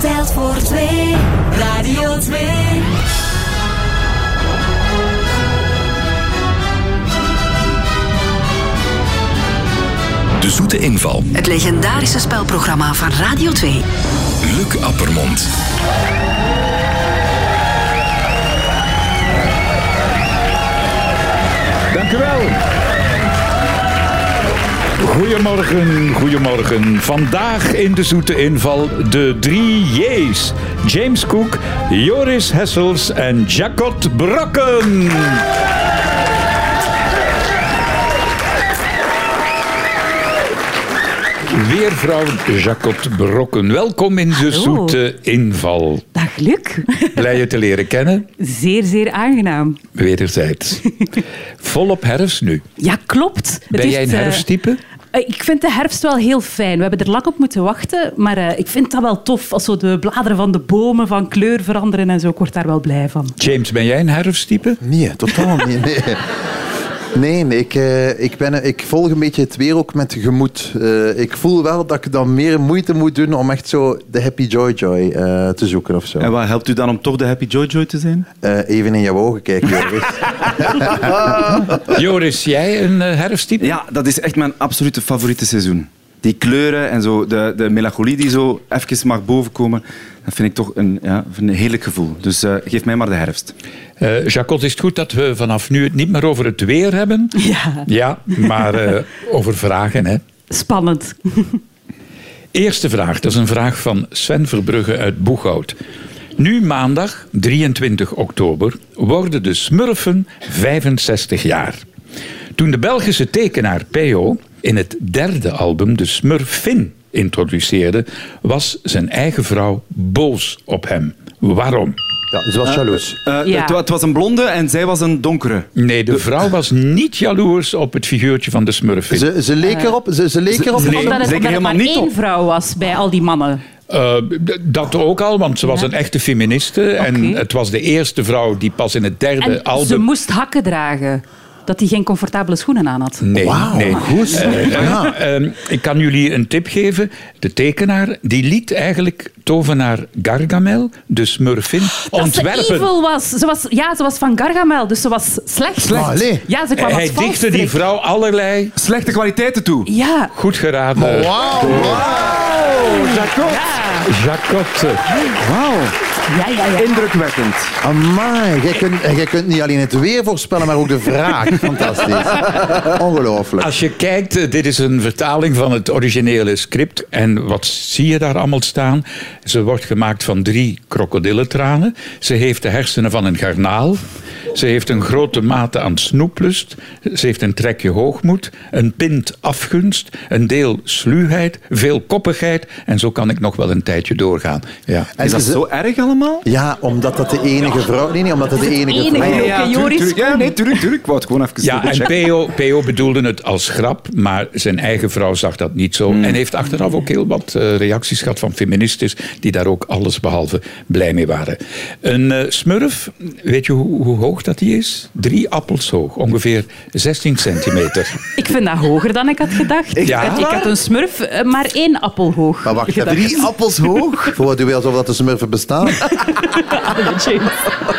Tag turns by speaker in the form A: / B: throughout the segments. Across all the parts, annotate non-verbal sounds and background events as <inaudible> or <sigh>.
A: telt voor twee. Radio 2.
B: De zoete inval.
C: Het legendarische spelprogramma van Radio 2.
B: Luc Appermond.
D: Dank u wel. Goedemorgen, goedemorgen. Vandaag in de zoete inval de drie J's. James Cook, Joris Hessels en Jacot Brokken. Weervrouw Jacot Brokken, welkom in de
E: Hallo.
D: zoete inval.
E: Dag Luc.
D: Blij je te leren kennen,
E: Zeer, zeer aangenaam.
D: wederzijds.
E: <laughs>
D: Volop herfst nu.
E: Ja, klopt. Het
D: Ben jij een
E: heeft, eh,
D: herfsttype?
E: eh, ik vind de herfst wel heel fijn. We hebben er lang op moeten wachten, maar eh, ik vind dat wel tof. Als zo de bladeren van de bomen van kleur veranderen en zo, ik word daar wel blij van.
D: James, ben jij een herfsttype?
F: Nee, totaal niet. Nee, nee, nee, ik, eh, ik, ben, ik volg een beetje het weer ook met gemoed. Eh, ik voel wel dat ik dan meer moeite moet doen om echt zo de happy joy joy eh, te zoeken of zo.
G: En wat helpt u dan om toch de Happy Joy Joy te zijn?
F: Eh, even in jouw ogen kijken, Joris.
E: Eh.
D: Joris, jij een eh, herfsttype?
G: Ja, dat is echt mijn absolute favoriete seizoen. Die kleuren en zo, de, de melancholie die zo even mag bovenkomen, dat vind ik toch een, ja, een heerlijk gevoel. Dus eh, geef mij maar de herfst.
D: Eh, Jacot, is het goed dat we vanaf nu het niet meer over het weer hebben?
E: Ja,
D: Ja, maar eh, over vragen, hè.
E: spannend.
D: Eerste vraag, dat is een vraag van Sven Verbrugge uit Boeghout. Nu maandag, 23 oktober, worden de Smurfen 65 jaar. Toen de Belgische tekenaar P.O. in het derde album de Smurfin introduceerde, was zijn eigen vrouw boos op hem. Waarom?
F: Ja, ze was jaloers.
G: Eh,
E: Ja.
G: het, wa- het was een blonde en zij was een donkere.
D: Nee, de vrouw was niet jaloers op het figuurtje van de Smurfin.
F: Ze, ze leek erop. Ze, ze leek erop.
G: Nee,
E: Omdat het, omdat
G: zeker
E: er maar
G: helemaal niet
E: één
G: op.
E: vrouw was bij al die mannen.
D: Eh, d- dat ook al, want ze was
E: Ja.
D: een echte feministe. En
E: Oké.
D: het was de eerste vrouw die pas in het derde
E: En
D: album...
E: ze moest hakken dragen, dat hij geen comfortabele schoenen aan had.
D: Nee,
F: Wauw,
E: <laughs>
D: nee.
F: goed.
D: Eh,
F: Ja.
D: ehm, ik kan jullie een tip geven. De tekenaar die liet eigenlijk tovenaar Gargamel, de smurfin,
E: Dat ze
D: ontwerpen.
E: evil was. Ze was. Ja, ze was van Gargamel, dus ze was slecht.
F: Slecht. Allee.
E: Ja, ze kwam als
D: Hij dichtte
E: valstrik.
D: die vrouw allerlei
G: Slechte kwaliteiten toe.
E: Ja.
D: goed geraden.
F: Wauw.
G: Jacot.
E: Ja.
D: Jacotte.
G: Wauw.
E: Ja, ja, ja.
G: Indrukwekkend.
F: Amai, jij kunt, jij kunt niet alleen het weer voorspellen, maar ook de vraag. Fantastisch. Ongelooflijk.
D: Als je kijkt, eh, dit is een vertaling van het originele script. En wat zie je daar allemaal staan? Ze wordt gemaakt van drie krokodillentranen. Ze heeft de hersenen van een garnaal. Ze heeft een grote mate aan snoeplust. Ze heeft een trekje hoogmoed. Een pint afgunst. Een deel sluwheid. Veel koppigheid. En zo kan ik nog wel een tijdje doorgaan. Ja.
F: En
G: Is dat
F: ze-
G: zo erg allemaal?
F: Ja, omdat dat de enige vrouw... Nee, nee, omdat dat de enige
E: enige
F: vrouw
E: Ja, ja, tuurlijk, Joris.
G: tuurlijk. Ja, nee, tuurlijk, tuurlijk. Ik wou het gewoon even
D: Ja, en
G: checken.
D: PO, PO bedoelde het als grap, maar zijn eigen vrouw zag dat niet zo. En heeft achteraf ook heel wat eh, reacties gehad van feministes die daar ook alles behalve blij mee waren. Een eh, smurf, weet je hoe, hoe hoog dat die is? Drie appels hoog, ongeveer 16 centimeter.
E: Ik vind dat hoger dan ik had gedacht.
D: Ja.
E: Ik had een smurf, eh, maar één appel hoog.
F: Maar wacht,
E: gedacht.
F: drie appels hoog? <laughs> Voor wat u wil, alsof dat de smurfen bestaan.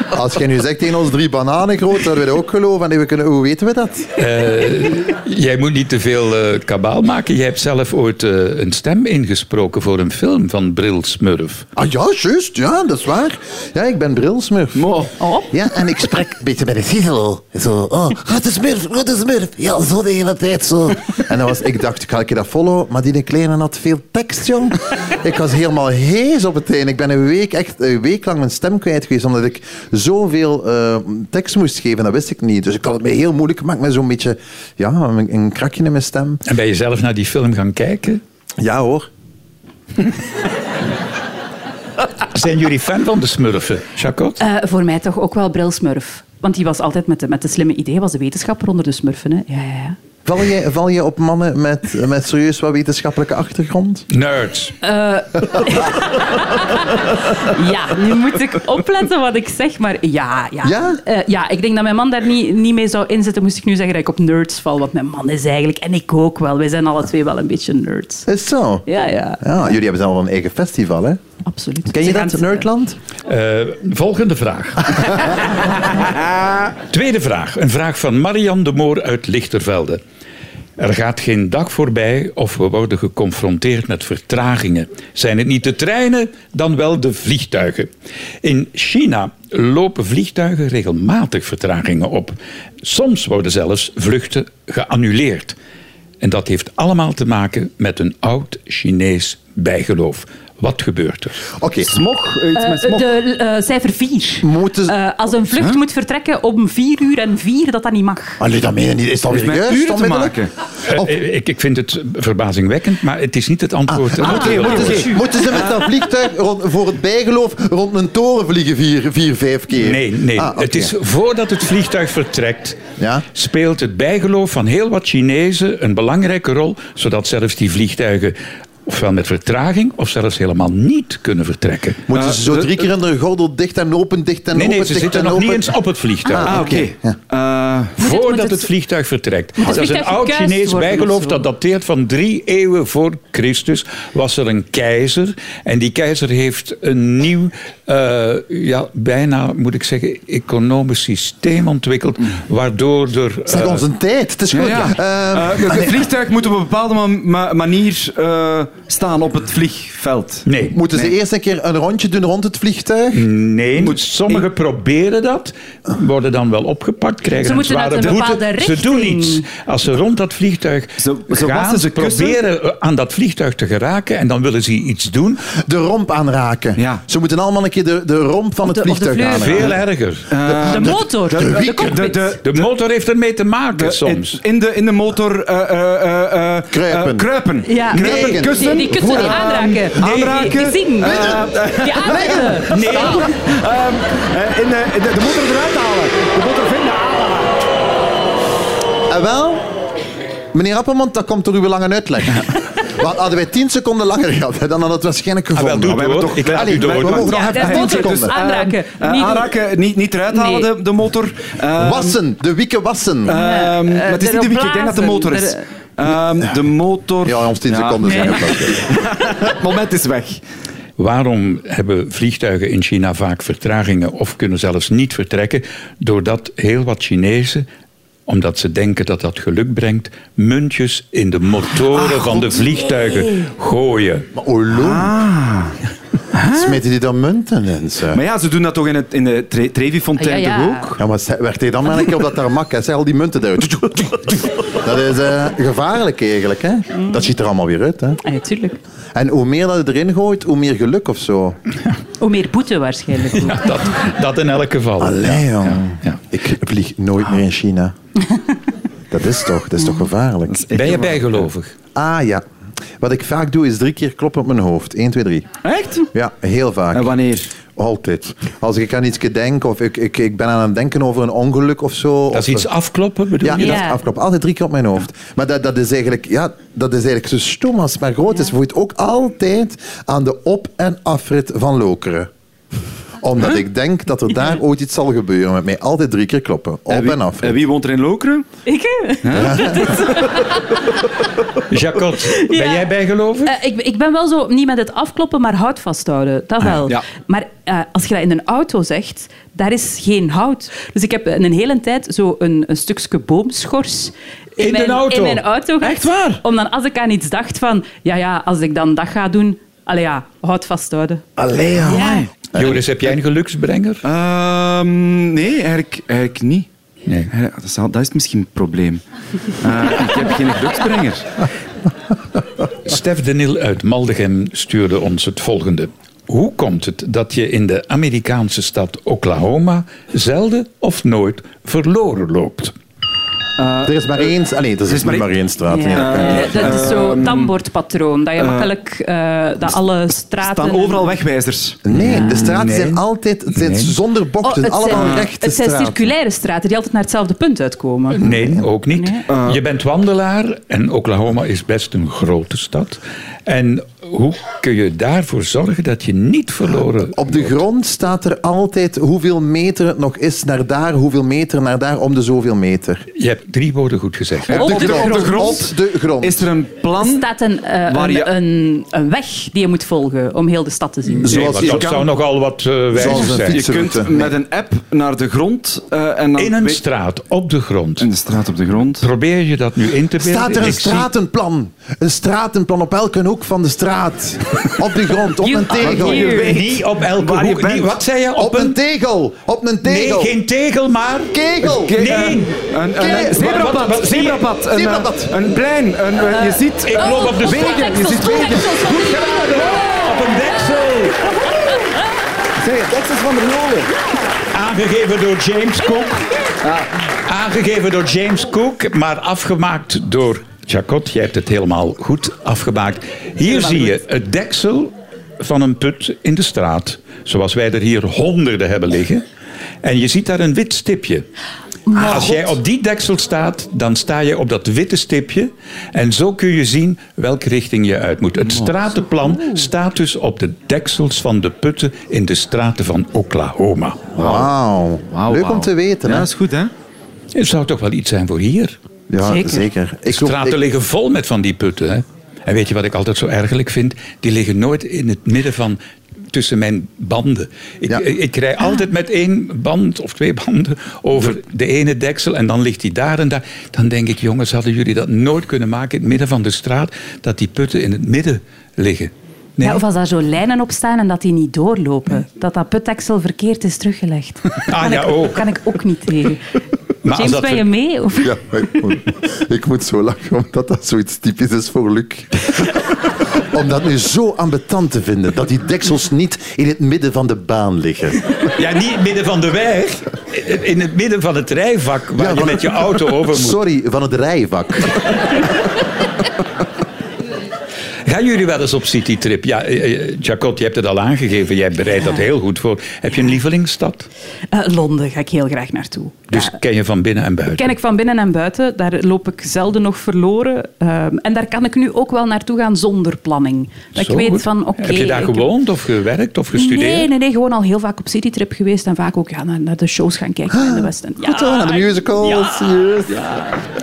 F: Als jij nu zegt tegen ons drie bananen groot, zouden we dat ook geloven. En we kunnen, hoe weten we dat?
D: Jij moet niet te veel eh, kabaal maken. Jij hebt zelf ooit eh, een stem ingesproken voor een film van Bril Smurf.
F: Ah ja, juist. Ja, dat is waar. Ja, ik ben brilsmurf.
G: Mo.
F: Ja, en ik spreek een beetje bij de sissel. Zo, oh, grote smurf, grote smurf. Ja, zo de hele tijd zo. En dan was, ik dacht, ga ik je dat follow? Maar die kleine had veel tekst, jong. Ik was helemaal hees op het einde. Ik ben een week, echt een week lang mijn stem kwijt geweest, omdat ik zoveel eh, tekst moest geven. Dat wist ik niet. Dus ik had het me heel moeilijk gemaakt met zo'n beetje, ja, een, een krakje in mijn stem.
D: En ben je zelf naar die film gaan kijken?
F: Ja hoor.
D: Zijn jullie fan van de smurfen, Jacot?
E: Eh, voor mij toch ook wel brilsmurf. Want die was altijd met de, met de slimme idee, was de wetenschapper onder de smurfen. Hè. Ja, ja, ja.
F: Val je, val je op mannen met, met serieus wat wetenschappelijke achtergrond?
D: Nerds.
E: Ja, nu moet ik opletten wat ik zeg, maar ja, ja.
F: Ja?
E: Eh, ja ik denk dat mijn man daar niet, niet mee zou inzetten, moest ik nu zeggen dat ik op nerds val. Want mijn man is eigenlijk, en ik ook wel, wij zijn alle twee wel een beetje nerds.
F: Is zo?
E: Ja, ja.
F: Ja, jullie hebben zelf wel een eigen festival, hè?
E: absoluut.
F: Ken je
E: Ze gaan
F: dat,
E: het-
F: Nerdland?
D: Eh, volgende vraag. Tweede vraag. Een vraag van Marian de Moor uit Lichtervelde. Er gaat geen dag voorbij of we worden geconfronteerd met vertragingen. Zijn het niet de treinen, dan wel de vliegtuigen. In China lopen vliegtuigen regelmatig vertragingen op. Soms worden zelfs vluchten geannuleerd. En dat heeft allemaal te maken met een oud Chinees bijgeloof. Wat gebeurt er?
F: Oké.
G: Smog, eh, iets
E: Eh,
G: met smog.
E: de eh, cijfer 4.
F: Moeten ze-
E: als een vlucht moet vertrekken om 4 uur en 4, dat dat niet mag.
F: Allee, Ah, dat meen je niet. Is dat
G: Heeft met
F: serieus?
G: uren te
F: Onmiddellijk?
G: maken.
D: Eh, eh, Ik, ik vind het verbazingwekkend, maar het is niet het antwoord.
F: Ah,
D: Oké, oké.
F: moeten, ze, moeten ze met dat vliegtuig rond, voor het bijgeloof rond een toren vliegen vier, vier vijf keer?
D: Nee, nee.
F: Ah, oké.
D: Het is voordat het vliegtuig vertrekt,
F: Ja?
D: speelt het bijgeloof van heel wat Chinezen een belangrijke rol, zodat zelfs die vliegtuigen ofwel met vertraging of zelfs helemaal niet kunnen vertrekken.
F: Moeten
G: Eh,
F: ze zo
G: de-
F: drie keer in de gordel dicht en open, dicht en
D: Nee,
F: open,
D: nee, ze
F: dicht
D: zitten
F: en
D: nog
F: open?
D: niet eens op het vliegtuig.
G: Ah, oké. Eh,
E: moet
D: Voordat
E: het-
D: het vliegtuig vertrekt.
E: het
D: Dat is een
E: vliegtuig
D: oud
E: gekuist
D: Chinees
E: worden of
D: bijgeloof
E: zo?
D: dat dateert van drie eeuwen voor Christus. Was er een keizer en die keizer heeft een nieuw, eh, ja, bijna moet ik zeggen, economisch systeem ontwikkeld. Waardoor er. eh,
F: Zeg onze tijd. Het is
G: Ja,
F: goed.
G: ja.
F: Ehm,
G: Eh,
F: <laughs>
G: het vliegtuig moet op een bepaalde ma- ma- manier eh, staan op het vliegveld.
D: nee. Mm.
F: moeten ze eerst een keer een rondje doen rond het vliegtuig?
D: Nee, eh, sommigen proberen dat, worden dan wel opgepakt, krijgen
E: Ze
D: een
E: moeten uit
D: zware
E: een
D: boete.
E: bepaalde
D: Ze doen
E: richting.
D: niets. Als ze rond dat vliegtuig
G: Zo- zo
D: gaan,
G: wassen
D: ze
G: ze kussen.
D: proberen eh, aan dat vliegtuig te geraken en dan willen ze iets doen.
F: De romp aanraken.
G: Ja.
F: Ze moeten allemaal een keer de, de romp van het
E: de- of de
F: vliegtuig
E: vleur.
F: aanraken.
D: Veel erger.
E: de motor. De, cockpit.
G: Eh, De, de,
D: De motor heeft ermee te maken soms.
G: In de, in de motor eh, eh, eh, eh,
F: Kruipen.
G: eh, kruipen.
E: Ja.
G: Kruipen,
F: Nee.
G: kussen. Ehm,
E: die, die kussen die
F: voeren.
E: aanraken.
G: aanraken.
E: Die, die zien.
G: Eh,
E: Die aanraken.
D: Nee,
G: Ehm, eh, in de, de, de motor eruit halen. De motor vinden.
F: En Eh, wel, meneer Appelmond, dat komt door uw lange uitleg. Want hadden wij tien seconden langer gehad, hè, dan hadden we het waarschijnlijk
D: Ah, wel,
F: gevonden.
D: doe
G: we
D: het
G: hebben
D: hoor.
G: toch-
D: Ik laat
F: Allee,
D: u
F: we mogen
D: door.
F: nog
E: Ja,
F: even
E: dat
F: tien
E: moet er
F: seconden.
E: dus aan. Aanraken.
G: Eh,
E: Niet doen.
G: aanraken, niet, niet eruit halen,
E: Nee.
G: de, de motor. Ehm,
F: Wassen, de wieken wassen.
G: ehm, maar het is
E: Eh, erop
G: niet de wiek, ik denk dat de motor is.
E: blazen,
G: Ehm, de motor...
F: ja, ons tien seconden zijn het ook.
G: Het moment is weg.
D: Waarom hebben vliegtuigen in China vaak vertragingen of kunnen zelfs niet vertrekken? Doordat heel wat Chinezen omdat ze denken dat dat geluk brengt, muntjes in de motoren van de vliegtuigen gooien.
F: Maar Oloen. Ah. Smeten die dan munten in? Zo?
G: Ah. Maar ja, ze doen dat toch in, het, in de Tre- Trevi-fontein
E: Ah, ja, ja.
G: toch ook?
F: Ja, maar ze- werd hij dan maar een keer op dat tarmac? Hij zei al die munten eruit. Dat is eh, gevaarlijk eigenlijk. Hè? Dat ziet er allemaal weer uit. Hè?
E: Ah, ja, tuurlijk.
F: En hoe meer dat je erin gooit, hoe meer geluk of zo.
E: Hoe Oh, meer boete waarschijnlijk. ook.
D: Dat, dat in elk geval.
F: Allee, jong.
D: ja. Ah.
F: Ik vlieg nooit meer in China. Dat is toch, dat is toch gevaarlijk?
D: Ben je bijgelovig?
F: Ah ja. Wat ik vaak doe is drie keer kloppen op mijn hoofd. 1, 2, 3.
G: Echt?
F: Ja, heel vaak.
G: En wanneer?
F: Altijd. Als ik aan iets denk of ik, ik, ik ben aan het denken over een ongeluk of zo.
D: Dat is
F: of-
D: iets afkloppen, bedoel
F: Ja,
D: je?
F: dat
E: Ja.
F: is afkloppen. Altijd drie keer op mijn hoofd. Maar dat, dat, is eigenlijk, ja, dat is eigenlijk zo stom als het maar groot is. Voelt ook altijd aan de op- en afrit van Lokeren. Omdat ik denk dat er daar ooit iets zal gebeuren met mij. Altijd drie keer kloppen. Op en,
G: wie,
F: afrit.
G: en wie woont er in Lokeren?
E: Ik, eh, hè?
D: Jacot, ben
E: Ja.
D: jij bijgelovig?
E: Eh, ik, ik ben wel zo niet met het afkloppen, maar hout vasthouden. Dat wel.
G: ja.
E: Maar eh, als je dat in een auto zegt, daar is geen hout. Dus ik heb in een hele tijd zo een, een stukje boomschors
D: In de
E: mijn,
D: auto?
E: in mijn auto gehad.
D: Echt waar?
E: Om dan als ik aan iets dacht van, ja, ja, als ik dan dat ga doen, allee ja, hout vasthouden.
F: Allee, ja.
D: Joris, heb jij een geluksbrenger?
G: Ehm, nee, eigenlijk, eigenlijk niet.
D: Nee.
G: Eh, Dat is, al- dat is misschien een probleem. Eh, ik heb geen geluksbrenger.
D: Stef de Nil uit Maldegem stuurde ons het volgende. Hoe komt het dat je in de Amerikaanse stad Oklahoma zelden of nooit verloren loopt?
F: Er is maar één... Ah, nee, er is,
G: is
F: maar,
G: maar
F: maar één straat.
E: Ja.
F: Ja.
E: Eh, dat is zo'n tambordpatroon, dat je makkelijk eh, dat alle straten...
G: Er staan overal wegwijzers.
F: Nee, de straten
D: Nee.
F: zijn altijd het zijn
D: Nee.
F: zonder
E: Oh,
F: bochten.
E: het
F: allemaal
E: zijn,
F: rechte
E: het zijn
F: straten.
E: circulaire straten die altijd naar hetzelfde punt uitkomen.
D: Nee, ook niet.
F: Eh.
E: Nee.
D: Je bent wandelaar en Oklahoma is best een grote stad. En hoe kun je daarvoor zorgen dat je niet verloren...
F: Op de grond staat er altijd hoeveel meter het nog is naar daar, hoeveel meter naar daar, om de zoveel meter.
D: Je hebt drie woorden goed gezegd.
G: Op de,
F: grond.
G: op de grond.
F: Op de grond.
G: Is er een
E: Er
G: plan?
E: staat een, eh,
G: Waar je-
E: een, een, een weg die je moet volgen om heel de stad te zien.
D: Nee,
F: Zoals
D: want
F: je
D: dat
F: kan-
D: zou nogal wat eh
F: Zoals
D: wijzer
F: een
D: zijn.
G: Je
F: Fietsenroute.
G: kunt met een app naar de grond eh, en dan
D: In een
G: weet-
D: straat, op de grond.
G: in de straat op de grond.
D: Probeer je dat nu in te beelden?
F: Staat er een
D: Ik zie-
F: stratenplan? Een stratenplan op elke hoek van de straat. Op de grond, op
E: You
F: een
E: are
F: tegel.
E: here.
D: Niet op elke
G: Waar je
D: hoek.
G: bent.
D: Niet- wat zei je? Op,
F: Op een tegel. Op een tegel.
D: Nee, geen tegel, maar...
F: kegel.
G: Ke-
D: Nee.
G: eh, Een, een, een
F: Ke-
D: wat-
G: zebrapad.
D: wat-
G: zebrapad, Een,
F: Zebrapad.
G: eh, een plein. Een, eh, je ziet...
D: Ik loop op de
G: wegen.
D: straat.
G: Je ziet wegen.
D: Op een deksel.
G: Zeg, dat is van de Lolen.
D: Aangegeven door James Cook. Aangegeven door James Cook, maar afgemaakt door Jacot. Jij hebt het helemaal goed afgemaakt. Hier zie je het deksel van een put in de straat. Zoals wij er hier honderden hebben liggen. En je ziet daar een wit stipje. Als jij op die deksel staat, dan sta je op dat witte stipje. En zo kun je zien welke richting je uit moet. Het stratenplan staat dus op de deksels van de putten in de straten van Oklahoma.
F: Wauw. Leuk om te weten.
G: Ja,
F: hè?
G: dat is goed, hè?
D: Het zou toch wel iets zijn voor hier?
F: Ja,
E: Zeker.
F: Ik
D: De
F: hoop-
D: straten
F: ik-
D: liggen vol met van die putten. Hè? En weet je wat ik altijd zo ergerlijk vind? Die liggen nooit in het midden van tussen mijn banden. Ik, eh,
F: Ja.
D: ik, ik rij altijd met één band of twee banden over de ene deksel en dan ligt die daar en daar. Dan denk ik, jongens, hadden jullie dat nooit kunnen maken in het midden van de straat, dat die putten in het midden liggen? Nee.
E: Ja, of als daar zo lijnen op staan en dat die niet doorlopen. Dat dat putdeksel verkeerd is teruggelegd.
D: Ah, ja,
E: ik,
D: ook.
E: kan ik ook niet tegen.
D: als
E: James,
D: dat
E: ben
D: ver-
E: je mee? Of? <laughs>
F: Ja, maar ik moet, ik moet zo lachen, omdat dat zoiets typisch is voor Luc. Om dat nu zo ambetant te vinden, dat die deksels niet in het midden van de baan liggen.
D: Ja, niet in het midden van de weg, in het midden van het rijvak waar
F: Ja,
D: je
F: van-
D: met je auto over moet.
F: Sorry, van het rijvak.
D: Gaan jullie wel eens op citytrip? Ja, eh, eh, Jacot, je hebt het al aangegeven. Jij bereidt dat heel goed voor. Heb je een lievelingsstad?
E: Eh, Londen ga ik heel graag naartoe.
D: Dus
E: Ja.
D: ken je van binnen en buiten?
E: Ken ik van binnen en buiten. Daar loop ik zelden nog verloren. Ehm, en daar kan ik nu ook wel naartoe gaan zonder planning. Dat
D: Zo
E: ik weet
D: goed.
E: van, oké...
D: heb je daar
E: ik-
D: gewoond of gewerkt of gestudeerd?
E: Nee, nee, nee, gewoon al heel vaak op citytrip geweest en vaak ook ja, naar, naar de shows gaan kijken in de Westen. Ja,
F: Goed hoor, naar de musicals. yes.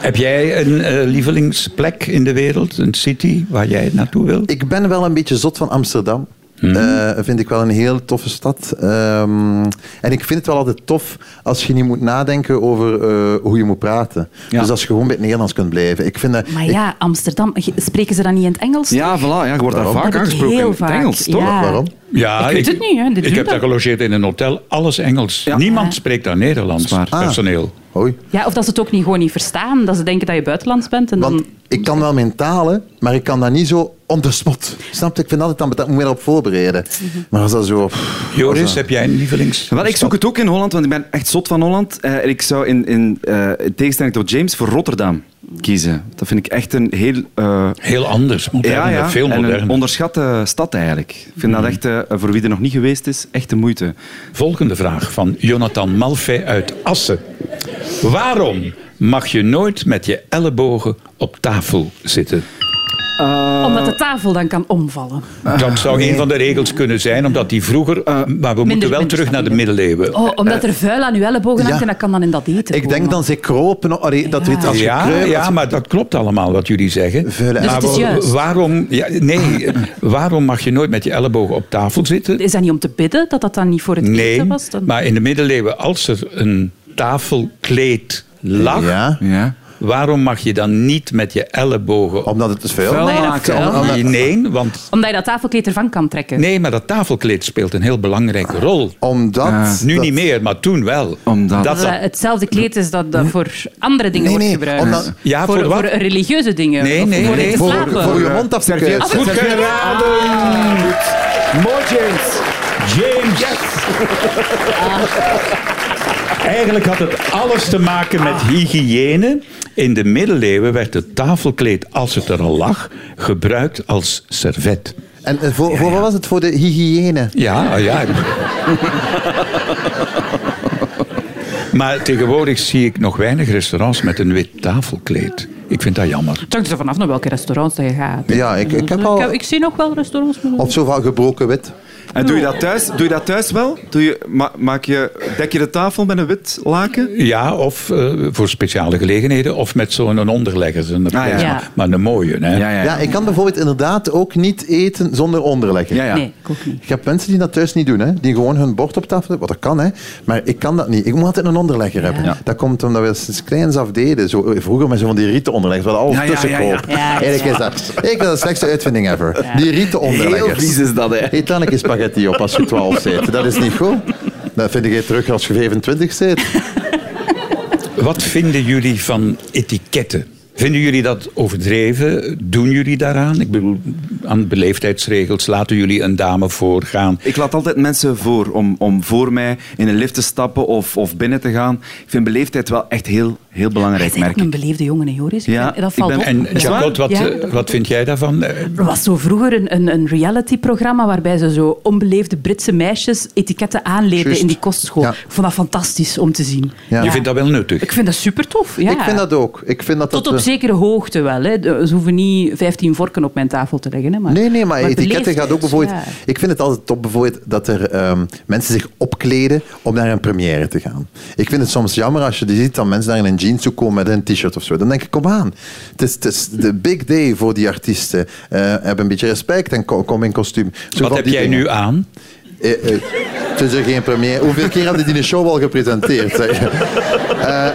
D: Heb jij een eh, lievelingsplek in de wereld? Een city waar jij naartoe wilt?
F: Ik ben wel een beetje zot van Amsterdam. Eh, vind ik wel een heel toffe stad. Ehm, en ik vind het wel altijd tof als je niet moet nadenken over eh, hoe je moet praten.
G: Ja.
F: Dus als je gewoon bij het Nederlands kunt blijven. Ik vind, dat-
E: Maar
F: ik-
E: ja, Amsterdam, ge- spreken ze dat niet in het Engels?
G: Ja, voilà. Ja, je wordt daar
E: Heb
G: vaak
E: ik
G: aangesproken.
E: heel
G: in het
E: vaak,
G: Engels, toch?
E: ja.
F: waarom?
D: Ja,
E: Ik weet het niet, hè, dit
D: ik
E: doet
D: heb daar
E: dat.
D: gelogeerd in een hotel. Alles Engels.
G: Ja.
D: Niemand
E: Ja.
D: spreekt daar Nederlands.
G: Dat is waar.
F: Ah.
D: Personeel.
F: Hoi.
E: Ja, of dat ze het ook niet, gewoon niet verstaan. Dat ze denken dat je buitenlands bent. En
F: Want
E: dan...
F: ik kan wel mijn talen, maar ik kan dat niet zo on the spot. Snap je? Ik vind altijd dat ik moet me daarop voorbereiden. Maar als dat zo...
E: Ah.
F: pff,
D: Joris, heb jij een lievelings?
G: Wel, ik zoek het ook in Holland, want ik ben echt zot van Holland. Eh, en ik zou in, in, eh, in tegenstelling tot James voor Rotterdam kiezen. Dat vind ik echt een heel... eh,
D: Heel anders. Moderner, veel
G: en
D: moderner.
G: een onderschatte stad eigenlijk. Ik vind dat echt, eh, voor wie er nog niet geweest is, echt de moeite.
D: Volgende vraag van Jonathan Malfay uit Assen. Waarom mag je nooit met je ellebogen op tafel zitten?
E: Omdat de tafel dan kan omvallen.
F: Ah,
D: Dat zou een van de regels kunnen zijn, omdat die vroeger... eh, maar we moeten wel
E: minder
D: terug naar de
E: stabiel.
D: middeleeuwen.
E: Oh, omdat er vuil aan uw ellebogen hangt
F: ja.
E: en dat kan dan in dat eten
F: Ik denk
E: komen.
F: dan ze kropen... allee, dat weet als je
D: ja,
F: kruipt, als
D: ja,
F: je-
D: maar dat klopt allemaal wat jullie zeggen.
F: Vuile Dus
D: maar
E: het is
D: wa-
E: juist.
D: waarom, ja, nee, <laughs> waarom mag je nooit met je ellebogen op tafel zitten?
E: Is dat niet om te bidden, dat dat dan niet voor het
D: Nee,
E: eten was? Dan...
D: maar in de middeleeuwen, als er een tafelkleed lag,
F: Ja,
G: Ja.
D: waarom mag je dan niet met je ellebogen op
F: omdat het is veel.
G: Vuil
E: Omdat je dat
G: maken,
E: vuil
G: allemaal-
E: maakt.
D: Nee, want
E: Omdat je dat tafelkleed ervan kan trekken.
D: Nee, maar dat tafelkleed speelt een heel belangrijke rol.
F: Omdat...
D: Nu
F: dat-
D: niet meer, maar toen wel.
G: Omdat-
D: Dat,
E: Dat
D: dat-
E: dat hetzelfde kleed is dat, dat voor andere dingen
F: Nee, nee,
E: wordt gebruikt.
F: omdat-
D: Ja, voor
E: voor,
D: wat?
E: religieuze dingen.
D: Nee,
E: of
D: nee,
E: voor
D: nee.
E: te
F: Voor,
E: slapen.
F: voor je mond af te
G: Serviet.
F: kuisen.
D: Goed geraden,
G: Mooi, James.
D: James. Eigenlijk had het alles te maken met hygiëne. In de middeleeuwen werd het tafelkleed, als het er al lag, gebruikt als servet.
F: En eh, voor, voor wat was het? Voor de hygiëne.
D: Ja, ah, ja. maar tegenwoordig zie ik nog weinig restaurants met een wit tafelkleed. Ik vind dat jammer.
E: Het hangt er vanaf naar welke restaurants dat je gaat.
F: Ja, ik- ik heb al-
E: Ik, ik zie nog wel restaurants. met-
F: Of zo van gebroken wit.
G: En doe je dat thuis, doe je dat thuis wel? Doe je, ma- maak je, dek je de tafel met een wit laken?
D: Ja, of eh, voor speciale gelegenheden, of met zo'n een onderlegger. Zo'n
G: ja.
E: Ja.
D: Maar een mooie, hè?
F: Ja. ik kan bijvoorbeeld inderdaad ook niet eten zonder onderleggen.
G: ja, ja.
E: Nee, ik ook niet.
F: Ik heb mensen die dat thuis niet doen, hè? die gewoon hun bord op tafel hebben, wat dat kan, hè? maar ik kan dat niet. Ik moet altijd een onderlegger hebben.
G: Ja.
F: Dat komt omdat we sinds kleins af deden. Zo, eh, vroeger met zo van die rieten onderleggers, wat alles
G: Ja, ja,
F: tussen
G: ja,
F: kwam.
G: ja.
E: Ja, ja.
F: Eigenlijk is dat, ik vind dat de slechtste uitvinding ever. Die rieten onderleggers.
G: Heel vies is dat, hè.
F: Eet dan een keer spaghetti op als je 12 bent. Dat is niet goed. Dat vind ik terug als je 25 bent.
D: Wat vinden jullie van etiketten? Vinden jullie dat overdreven? Doen jullie daaraan? Ik bedoel, aan beleefdheidsregels laten jullie een dame voorgaan.
G: Ik laat altijd mensen voor om, om voor mij in een lift te stappen of, of binnen te gaan. Ik vind beleefdheid wel echt heel, heel
E: Hij
G: belangrijk,
E: is echt
G: merk ik.
E: een beleefde jongen, hè, Joris. Ik
G: Ja,
E: vind- dat
G: ik
E: valt
G: ben-
E: op.
D: En
E: Ja.
D: Jacot, wat,
E: Ja.
D: eh, wat vind jij daarvan? Eh,
E: Er was zo vroeger een, een, een realityprogramma waarbij ze zo onbeleefde Britse meisjes etiketten aanleerden
F: Juist.
E: in die kostschool.
F: Ja.
E: Ik vond dat fantastisch om te zien.
F: Ja.
D: Je vindt dat wel nuttig?
E: Ik vind dat super tof. Ja.
F: Ik vind dat ook. Ik vind dat
E: Tot
F: dat eh,
E: op
F: we-
E: zekere hoogte wel. Hè. De- Ze hoeven niet 15 vorken op mijn tafel te leggen. Hè, maar,
F: Nee, nee, maar, etiketten gaat ook
E: beleefdheid,
F: bijvoorbeeld...
E: ja.
F: Ik vind het altijd top bijvoorbeeld dat er ehm, mensen zich opkleden om naar een première te gaan. Ik vind het soms jammer als je die ziet dat mensen daar in een jeans toe komen met een t-shirt of zo. Dan denk ik, kom aan. Het is, het is de big day voor die artiesten. Eh, heb een beetje respect en ko- kom in kostuum. Zo
D: Wat
F: van
D: heb
F: die
D: jij
F: dingen.
D: nu aan?
F: Eh, eh, het is er geen première. Hoeveel keer hebben die de show al gepresenteerd? Zeg. Eh,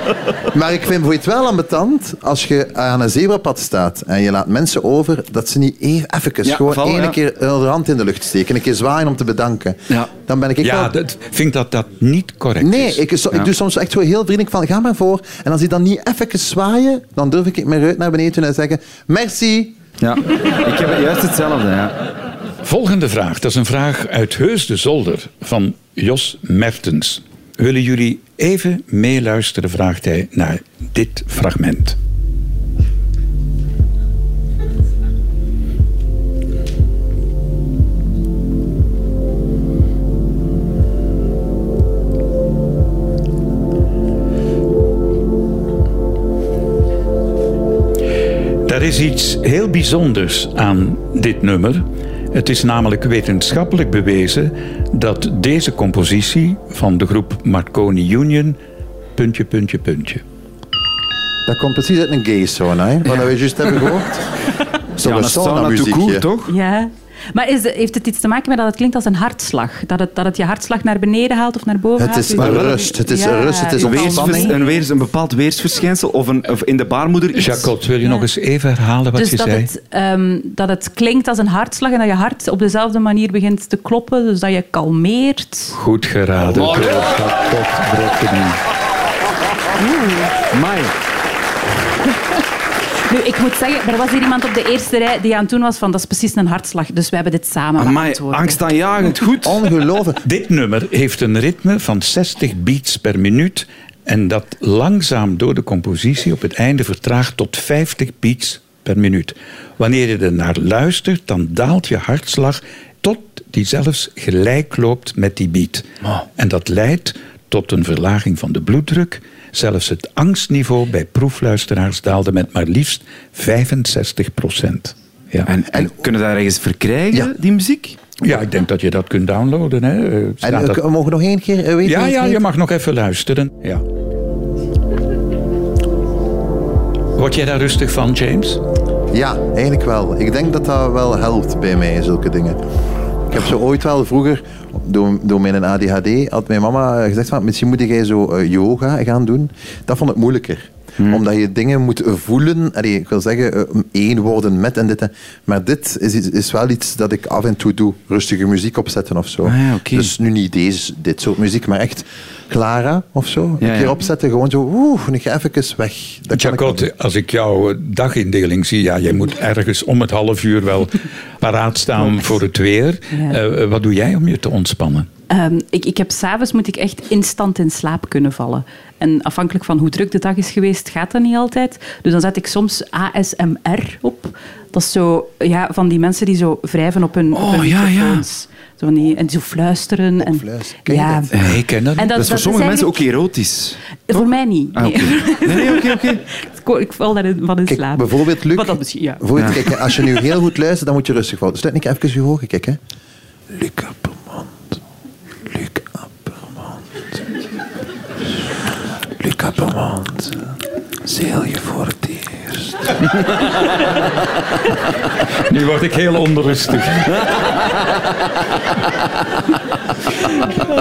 F: maar ik vind het wel ambetant als je aan een zebrapad staat en je laat mensen over, dat ze niet even, even
G: Ja,
F: gewoon
G: vallen,
F: één
G: ja.
F: keer hun hand in de lucht steken, een keer zwaaien om te bedanken.
G: Ja.
F: Dan ben ik ik
D: Ja,
F: wel-
D: dat, vind ik dat dat niet correct
F: Nee,
D: is.
F: ik, so- ik doe soms echt zo heel vriendelijk van, ga maar voor. En als die dan niet even zwaaien, dan durf ik mijn ruit naar beneden te doen en zeggen, merci.
G: Ja. Ik heb juist hetzelfde, ja.
D: Volgende vraag. Dat is een vraag uit Heus de Zolder van Jos Mertens. Willen jullie even meeluisteren, vraagt hij, naar dit fragment. Er is iets heel bijzonders aan dit nummer. Het is namelijk wetenschappelijk bewezen dat deze compositie van de groep Marconi Union. puntje, puntje, puntje.
F: Dat komt precies uit een gay sauna, hè? wat we juist hebben gehoord. Zo'n
G: Ja, dat zou
F: sauna
G: natuurlijk
F: muziekje.
G: cool, toch?
E: Ja. Maar is, heeft het iets te maken met dat het klinkt als een hartslag? Dat het, dat het je hartslag naar beneden haalt of naar boven
F: Het
E: haalt?
F: is
E: Weet je wel?
F: rust. Het is rust. Het is
E: je
G: Een,
E: kan
F: ontspanning.
G: weersvers-
E: niet-
G: een, weers, een bepaald weersverschijnsel of, een, of in de baarmoeder iets.
D: Jacot, wil je nog eens even herhalen wat
E: Dus
D: je
E: dat
D: zei?
E: het, ehm, dat het klinkt als een hartslag en dat je hart op dezelfde manier begint te kloppen, dus dat je kalmeert.
D: Goed geraden. door Jacot Brokkeni.
G: Amai.
E: Nu, ik moet zeggen, er was hier iemand op de eerste rij die aan het doen was van dat is precies een hartslag, dus we hebben dit samen
G: Amai,
E: beantwoord.
G: angstaanjagend goed.
F: Ongelooflijk.
D: Dit nummer heeft een ritme van 60 beats per minuut. En dat langzaam door de compositie op het einde vertraagt tot 50 beats per minuut. Wanneer je er naar luistert, dan daalt je hartslag tot die zelfs gelijk loopt met die beat. En dat leidt tot een verlaging van de bloeddruk. Zelfs het angstniveau bij proefluisteraars daalde met maar liefst 65 Ja.
G: En, en kunnen we daar ergens verkrijgen,
F: Ja.
G: die muziek?
D: ja, ik denk dat je dat kunt downloaden. Hè. Eh,
F: En
D: staat
F: eh,
D: dat-
F: we mogen nog één keer eh, weten.
D: ja,
F: wie het
D: ja,
F: heet?
D: je mag nog even luisteren. Ja. Word jij daar rustig van, James?
F: Ja, eigenlijk wel. Ik denk dat dat wel helpt bij mij, zulke dingen. Ik heb zo ooit wel vroeger, door, door mijn ADHD, had mijn mama eh, gezegd van, misschien moet jij zo eh, yoga gaan doen. Dat vond ik moeilijker.
G: Hmm.
F: Omdat je dingen moet voelen. Allee, ik wil zeggen, eh, één worden met en dit. en- Maar dit is, iets- is wel iets dat ik af en toe doe. Rustige muziek opzetten of zo.
G: Ah ja, oké.
F: Dus nu niet deze, dit soort muziek, maar echt Clara of zo.
G: Ja,
F: een keer
G: ja.
F: opzetten, gewoon zo, oeh, ik ga even weg. Dat kan ik wel doen.
D: Jacot, als ik jouw eh, dagindeling zie, ja, jij moet ergens om het half uur wel paraat staan voor het weer.
E: Ja.
D: Eh, eh, wat doe jij om je te ontspannen?
E: Ehm, ik, ik heb s'avonds moet ik echt instant in slaap kunnen vallen. En afhankelijk van hoe druk de dag is geweest, gaat dat niet altijd. Dus dan zet ik soms ASMR op. Dat is zo ja, van die mensen die zo wrijven op hun, op
G: Oh,
E: hun
G: ja, ja.
E: microfoons. Zo van die, en zo fluisteren. En,
F: Fluisteren, ken je
E: ja.
F: dat?
D: Nee, ik ken dat
E: En
D: niet.
G: Dat is voor sommige mensen ook
E: eigenlijk-
G: erotisch.
E: Voor mij niet.
G: Ah, oké.
E: nee.
G: Nee, nee, oké, oké.
E: <laughs> Ik ko- Ik val daar van in
F: Kijk,
E: slaap.
F: bijvoorbeeld, Luc.
E: Wat dat misschien, ja.
F: bijvoorbeeld, kijk, als je nu heel goed luistert, dan moet je rustig houden. Sluit niet even je ogen, kijk. Hè. Luc Appermond. Luc Appermond. Luc Appermond. Zeel je voor het eerst.
D: Nu word ik heel onrustig.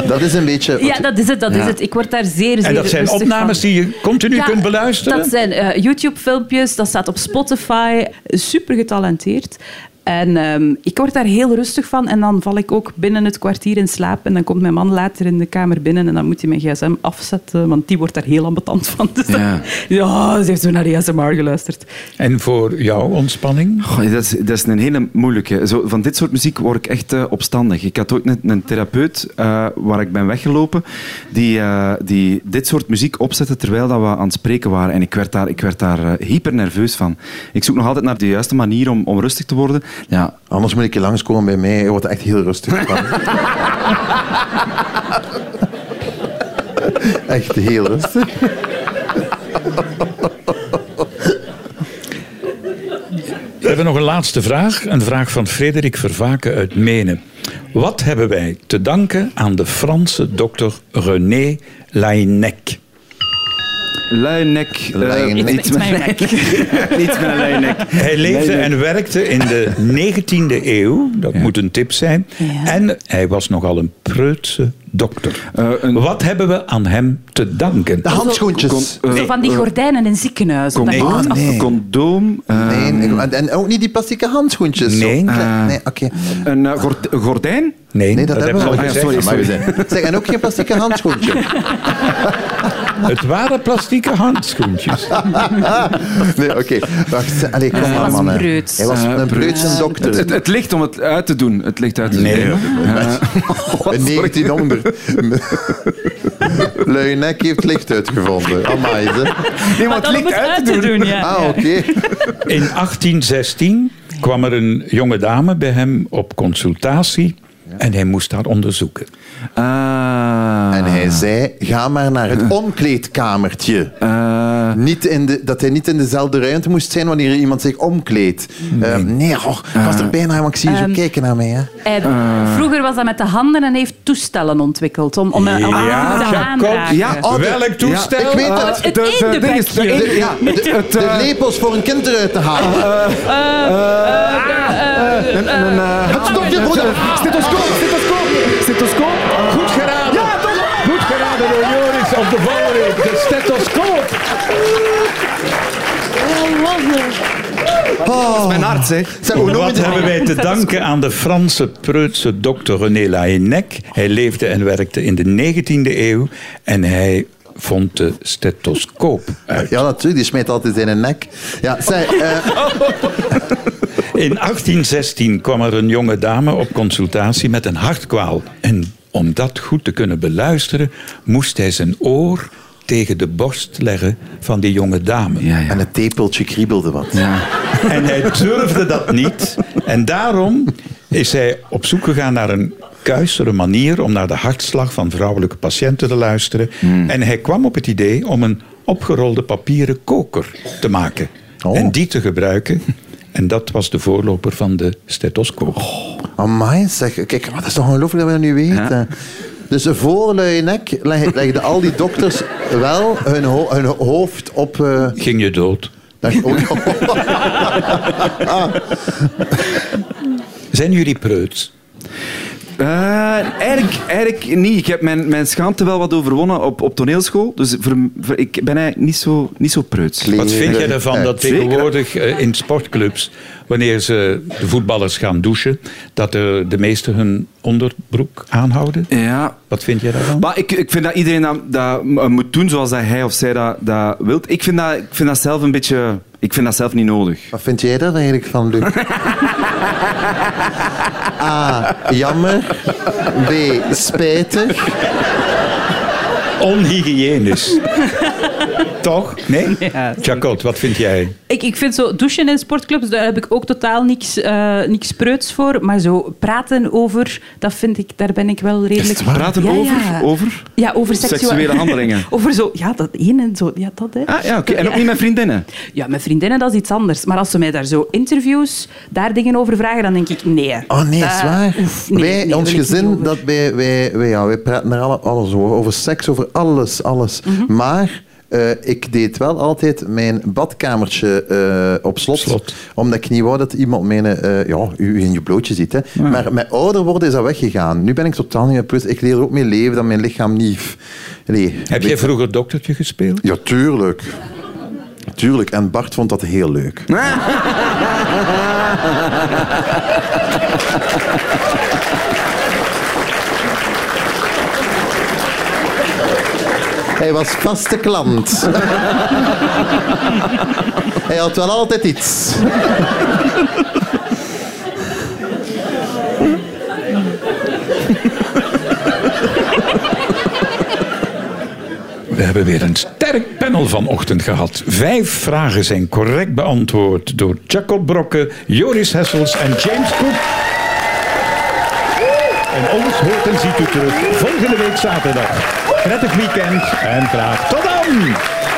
F: Dat is een beetje...
E: Ja, dat is het, dat is
G: Ja.
E: het. Ik word daar zeer, zeer
D: En dat zijn
E: rustig
D: opnames
E: van.
D: die je continu
E: Ja,
D: kunt beluisteren.
E: Dat zijn eh, YouTube-filmpjes, dat staat op Spotify. Super getalenteerd. En ehm, ik word daar heel rustig van. En dan val ik ook binnen het kwartier in slaap. En dan komt mijn man later in de kamer binnen. En dan moet hij mijn gsm afzetten. Want die wordt daar heel ambetant van. <laughs> Dus dan-
G: Ja.
E: ja. ze heeft zo naar de ASMR geluisterd.
D: En voor jouw ontspanning?
G: Goh, dat, is, dat is een hele moeilijke. Zo, van dit soort muziek word ik echt eh, opstandig. Ik had ooit net een therapeut eh, waar ik ben weggelopen, die, eh, die dit soort muziek opzette terwijl dat we aan het spreken waren. En ik werd daar, ik werd daar eh, hyper nerveus van. Ik zoek nog altijd naar de juiste manier om, om rustig te worden. Ja,
F: Anders moet ik je langskomen bij mij. Je wordt er echt heel <laughs> rustig van. echt heel rustig.
D: We hebben nog een laatste vraag. Een vraag van Frederik Vervaken uit Menen. Wat hebben wij te danken aan de Franse dokter René Laennec?
G: lui nek. eh,
F: Lui nek.
G: Niet met <laughs> niet met een lui nek.
D: Hij leefde
G: Leiden.
D: en werkte in de 19e eeuw, dat moet een tip zijn.
E: Ja.
D: En hij was nogal een preutse dokter.
G: Eh, een-
D: Wat hebben we aan hem te danken?
F: De handschoentjes.
G: Kon- eh,
E: Zo van die gordijnen in ziekenhuizen. dat je
G: condoom.
E: moet af-
F: nee.
G: condoom eh,
F: Nee, ik- en- en ook niet die plastieke handschoentjes. zo
D: Nee.
F: klein. Ehm. Nee, Ah. oké.
G: een eh, gord- een gordijn.
D: Nee,
F: Nee, dat, hebben we al Ah,
D: gezegd.
F: gezegd.
G: sorry,
F: Maar we zijn- Zeg, en ook geen plastieke handschoentje.
D: Het waren plastieke handschoentjes.
F: <laughs> Nee, oké. Wacht, allee, kom maar,
E: was
F: mannen.
E: preuts.
F: Hij was
G: Eh,
F: een preutse
G: Het, het,
F: dokter.
G: het ligt om het uit te doen. Het ligt uit te
D: Nee,
G: doen. Eh,
F: <laughs> Een <laughs> 1900. Lui nek heeft licht uitgevonden. Amai, ze.
G: nee,
E: Maar
G: maar het
E: dan om
G: ligt
E: het
G: uit te doen.
E: ja.
F: Ah, oké.
D: In 1816 kwam er een jonge dame bij hem op consultatie. En hij moest haar onderzoeken.
G: <laughs> Ah.
F: En hij zei, ga maar naar het omkleedkamertje.
G: Eh,
F: Niet in de, dat hij niet in dezelfde ruimte moest zijn wanneer iemand zich omkleedt. Nee, Eh. nee goh, ik was er bijna, maar ik zie je zo kijken naar mij. Hè.
E: En Vroeger was dat met de handen en hij heeft toestellen ontwikkeld. Om, om, om om te aanraken.
G: ja, oh, de-
D: Welk toestel?
F: ik weet het.
E: Het eendebekje.
G: ding is- de- ja,
F: De,
G: het- het,
F: de
G: eh,
F: lepels voor een kind eruit te halen.
G: een- een, eh,
F: stokje,
G: een-
F: broeder.
G: een- Stethoscoop, stethoscoop, stethoscoop.
D: Goed geraden!
G: Ja, toch?
D: Goed geraden door Joris op de voorreep. De stethoscoop.
G: Dat is mijn hart, zeg.
F: Zeg, hoe noem je
D: Wat
F: dat?
D: hebben wij te danken aan de Franse preutse dokter René Laennec? Hij leefde en werkte in de 19e eeuw en hij vond de stethoscoop uit.
F: Ja, natuurlijk, die smijt altijd in een nek. Ja,
D: <laughs>
F: zij, eh,
D: In 1816 kwam er een jonge dame op consultatie met een hartkwaal. En om dat goed te kunnen beluisteren, moest hij zijn oor tegen de borst leggen van die jonge dame.
G: Ja, ja.
F: en het tepeltje kriebelde wat.
D: En hij durfde dat niet. En daarom is hij op zoek gegaan naar een kuisere manier om naar de hartslag van vrouwelijke patiënten te luisteren. En hij kwam op het idee om een opgerolde papieren koker te maken.
F: Oh.
D: En die te gebruiken. En dat was de voorloper van de stethoscoop.
F: Amai, zeg, kijk, maar dat is toch ongelooflijk dat we dat nu weten. Dus voor luie nek leg- legden al die dokters wel hun, ho- hun hoofd op... eh,
D: Ging je dood?
F: dat-
D: <laughs>
F: oh, oh.
D: Zijn jullie preuts?
G: Eh, eigenlijk, eigenlijk niet. Ik heb mijn, mijn schaamte wel wat overwonnen op, op toneelschool. Dus voor, voor- ik ben eigenlijk niet zo, niet zo preuts.
D: Wat vind je
F: Leren.
D: ervan dat
G: Zeker.
D: tegenwoordig eh, in sportclubs, wanneer ze de voetballers gaan douchen, dat eh, de meesten hun onderbroek aanhouden?
G: Ja,
D: Wat vind je daarvan?
G: Maar ik, ik vind dat iedereen dat, dat m- moet doen zoals dat hij of zij dat, dat wil. Ik vind dat, ik vind dat zelf een beetje... Ik vind dat zelf niet nodig.
F: Wat vind jij daar eigenlijk van, Luc?
D: <laughs>
F: A. Jammer. B. Spijtig.
D: Onhygiënisch. <laughs> Toch? Nee? Jacot, wat vind jij?
E: Ik, ik vind zo douchen in sportclubs, daar heb ik ook totaal niks, eh niks preuts voor. Maar zo praten over, dat vind ik, daar ben ik wel redelijk...
F: het waar?
G: Praten
E: Ja,
G: over?
E: ja.
G: over?
E: Ja, over seksuele,
G: Seksuele handelingen.
E: <laughs> Over zo, ja, dat één en zo. Ja, dat, hè.
G: Ah ja, oké. En ook niet met vriendinnen?
E: Ja, met vriendinnen, dat is iets anders. Maar als ze mij daar zo interviews, daar dingen over vragen, dan denk ik, nee.
F: Oh nee,
E: Dat-
F: is waar.
E: Eh, oef, nee,
F: wij,
E: nee, daar
F: ons
E: wil ik niet
F: gezin,
E: over.
F: dat wij, wij, wij, ja, wij praten daar alle- alles over. Over seks, over alles, alles.
E: Mhm.
F: Maar eh, ik deed wel altijd mijn badkamertje eh, op slot,
D: Slot.
F: Omdat ik niet wou dat iemand mijn, eh, ja, u in je blootje ziet. Hè. Maar met ouder worden is dat weggegaan. Nu ben ik totaal niet meer plus. Ik leer ook mee leven dat mijn lichaam niet... Nee.
D: Heb jij vroeger doktertje gespeeld?
F: Ja, tuurlijk. Tuurlijk. En Bart vond dat heel leuk. Hij was vaste klant. Hij had wel altijd iets.
D: We hebben weer een sterk panel vanochtend gehad. Vijf vragen zijn correct beantwoord door Jacob Brokke, Joris Hessels en James Cook. En ons hoort en ziet u terug volgende week zaterdag. Prettig weekend en graag tot dan!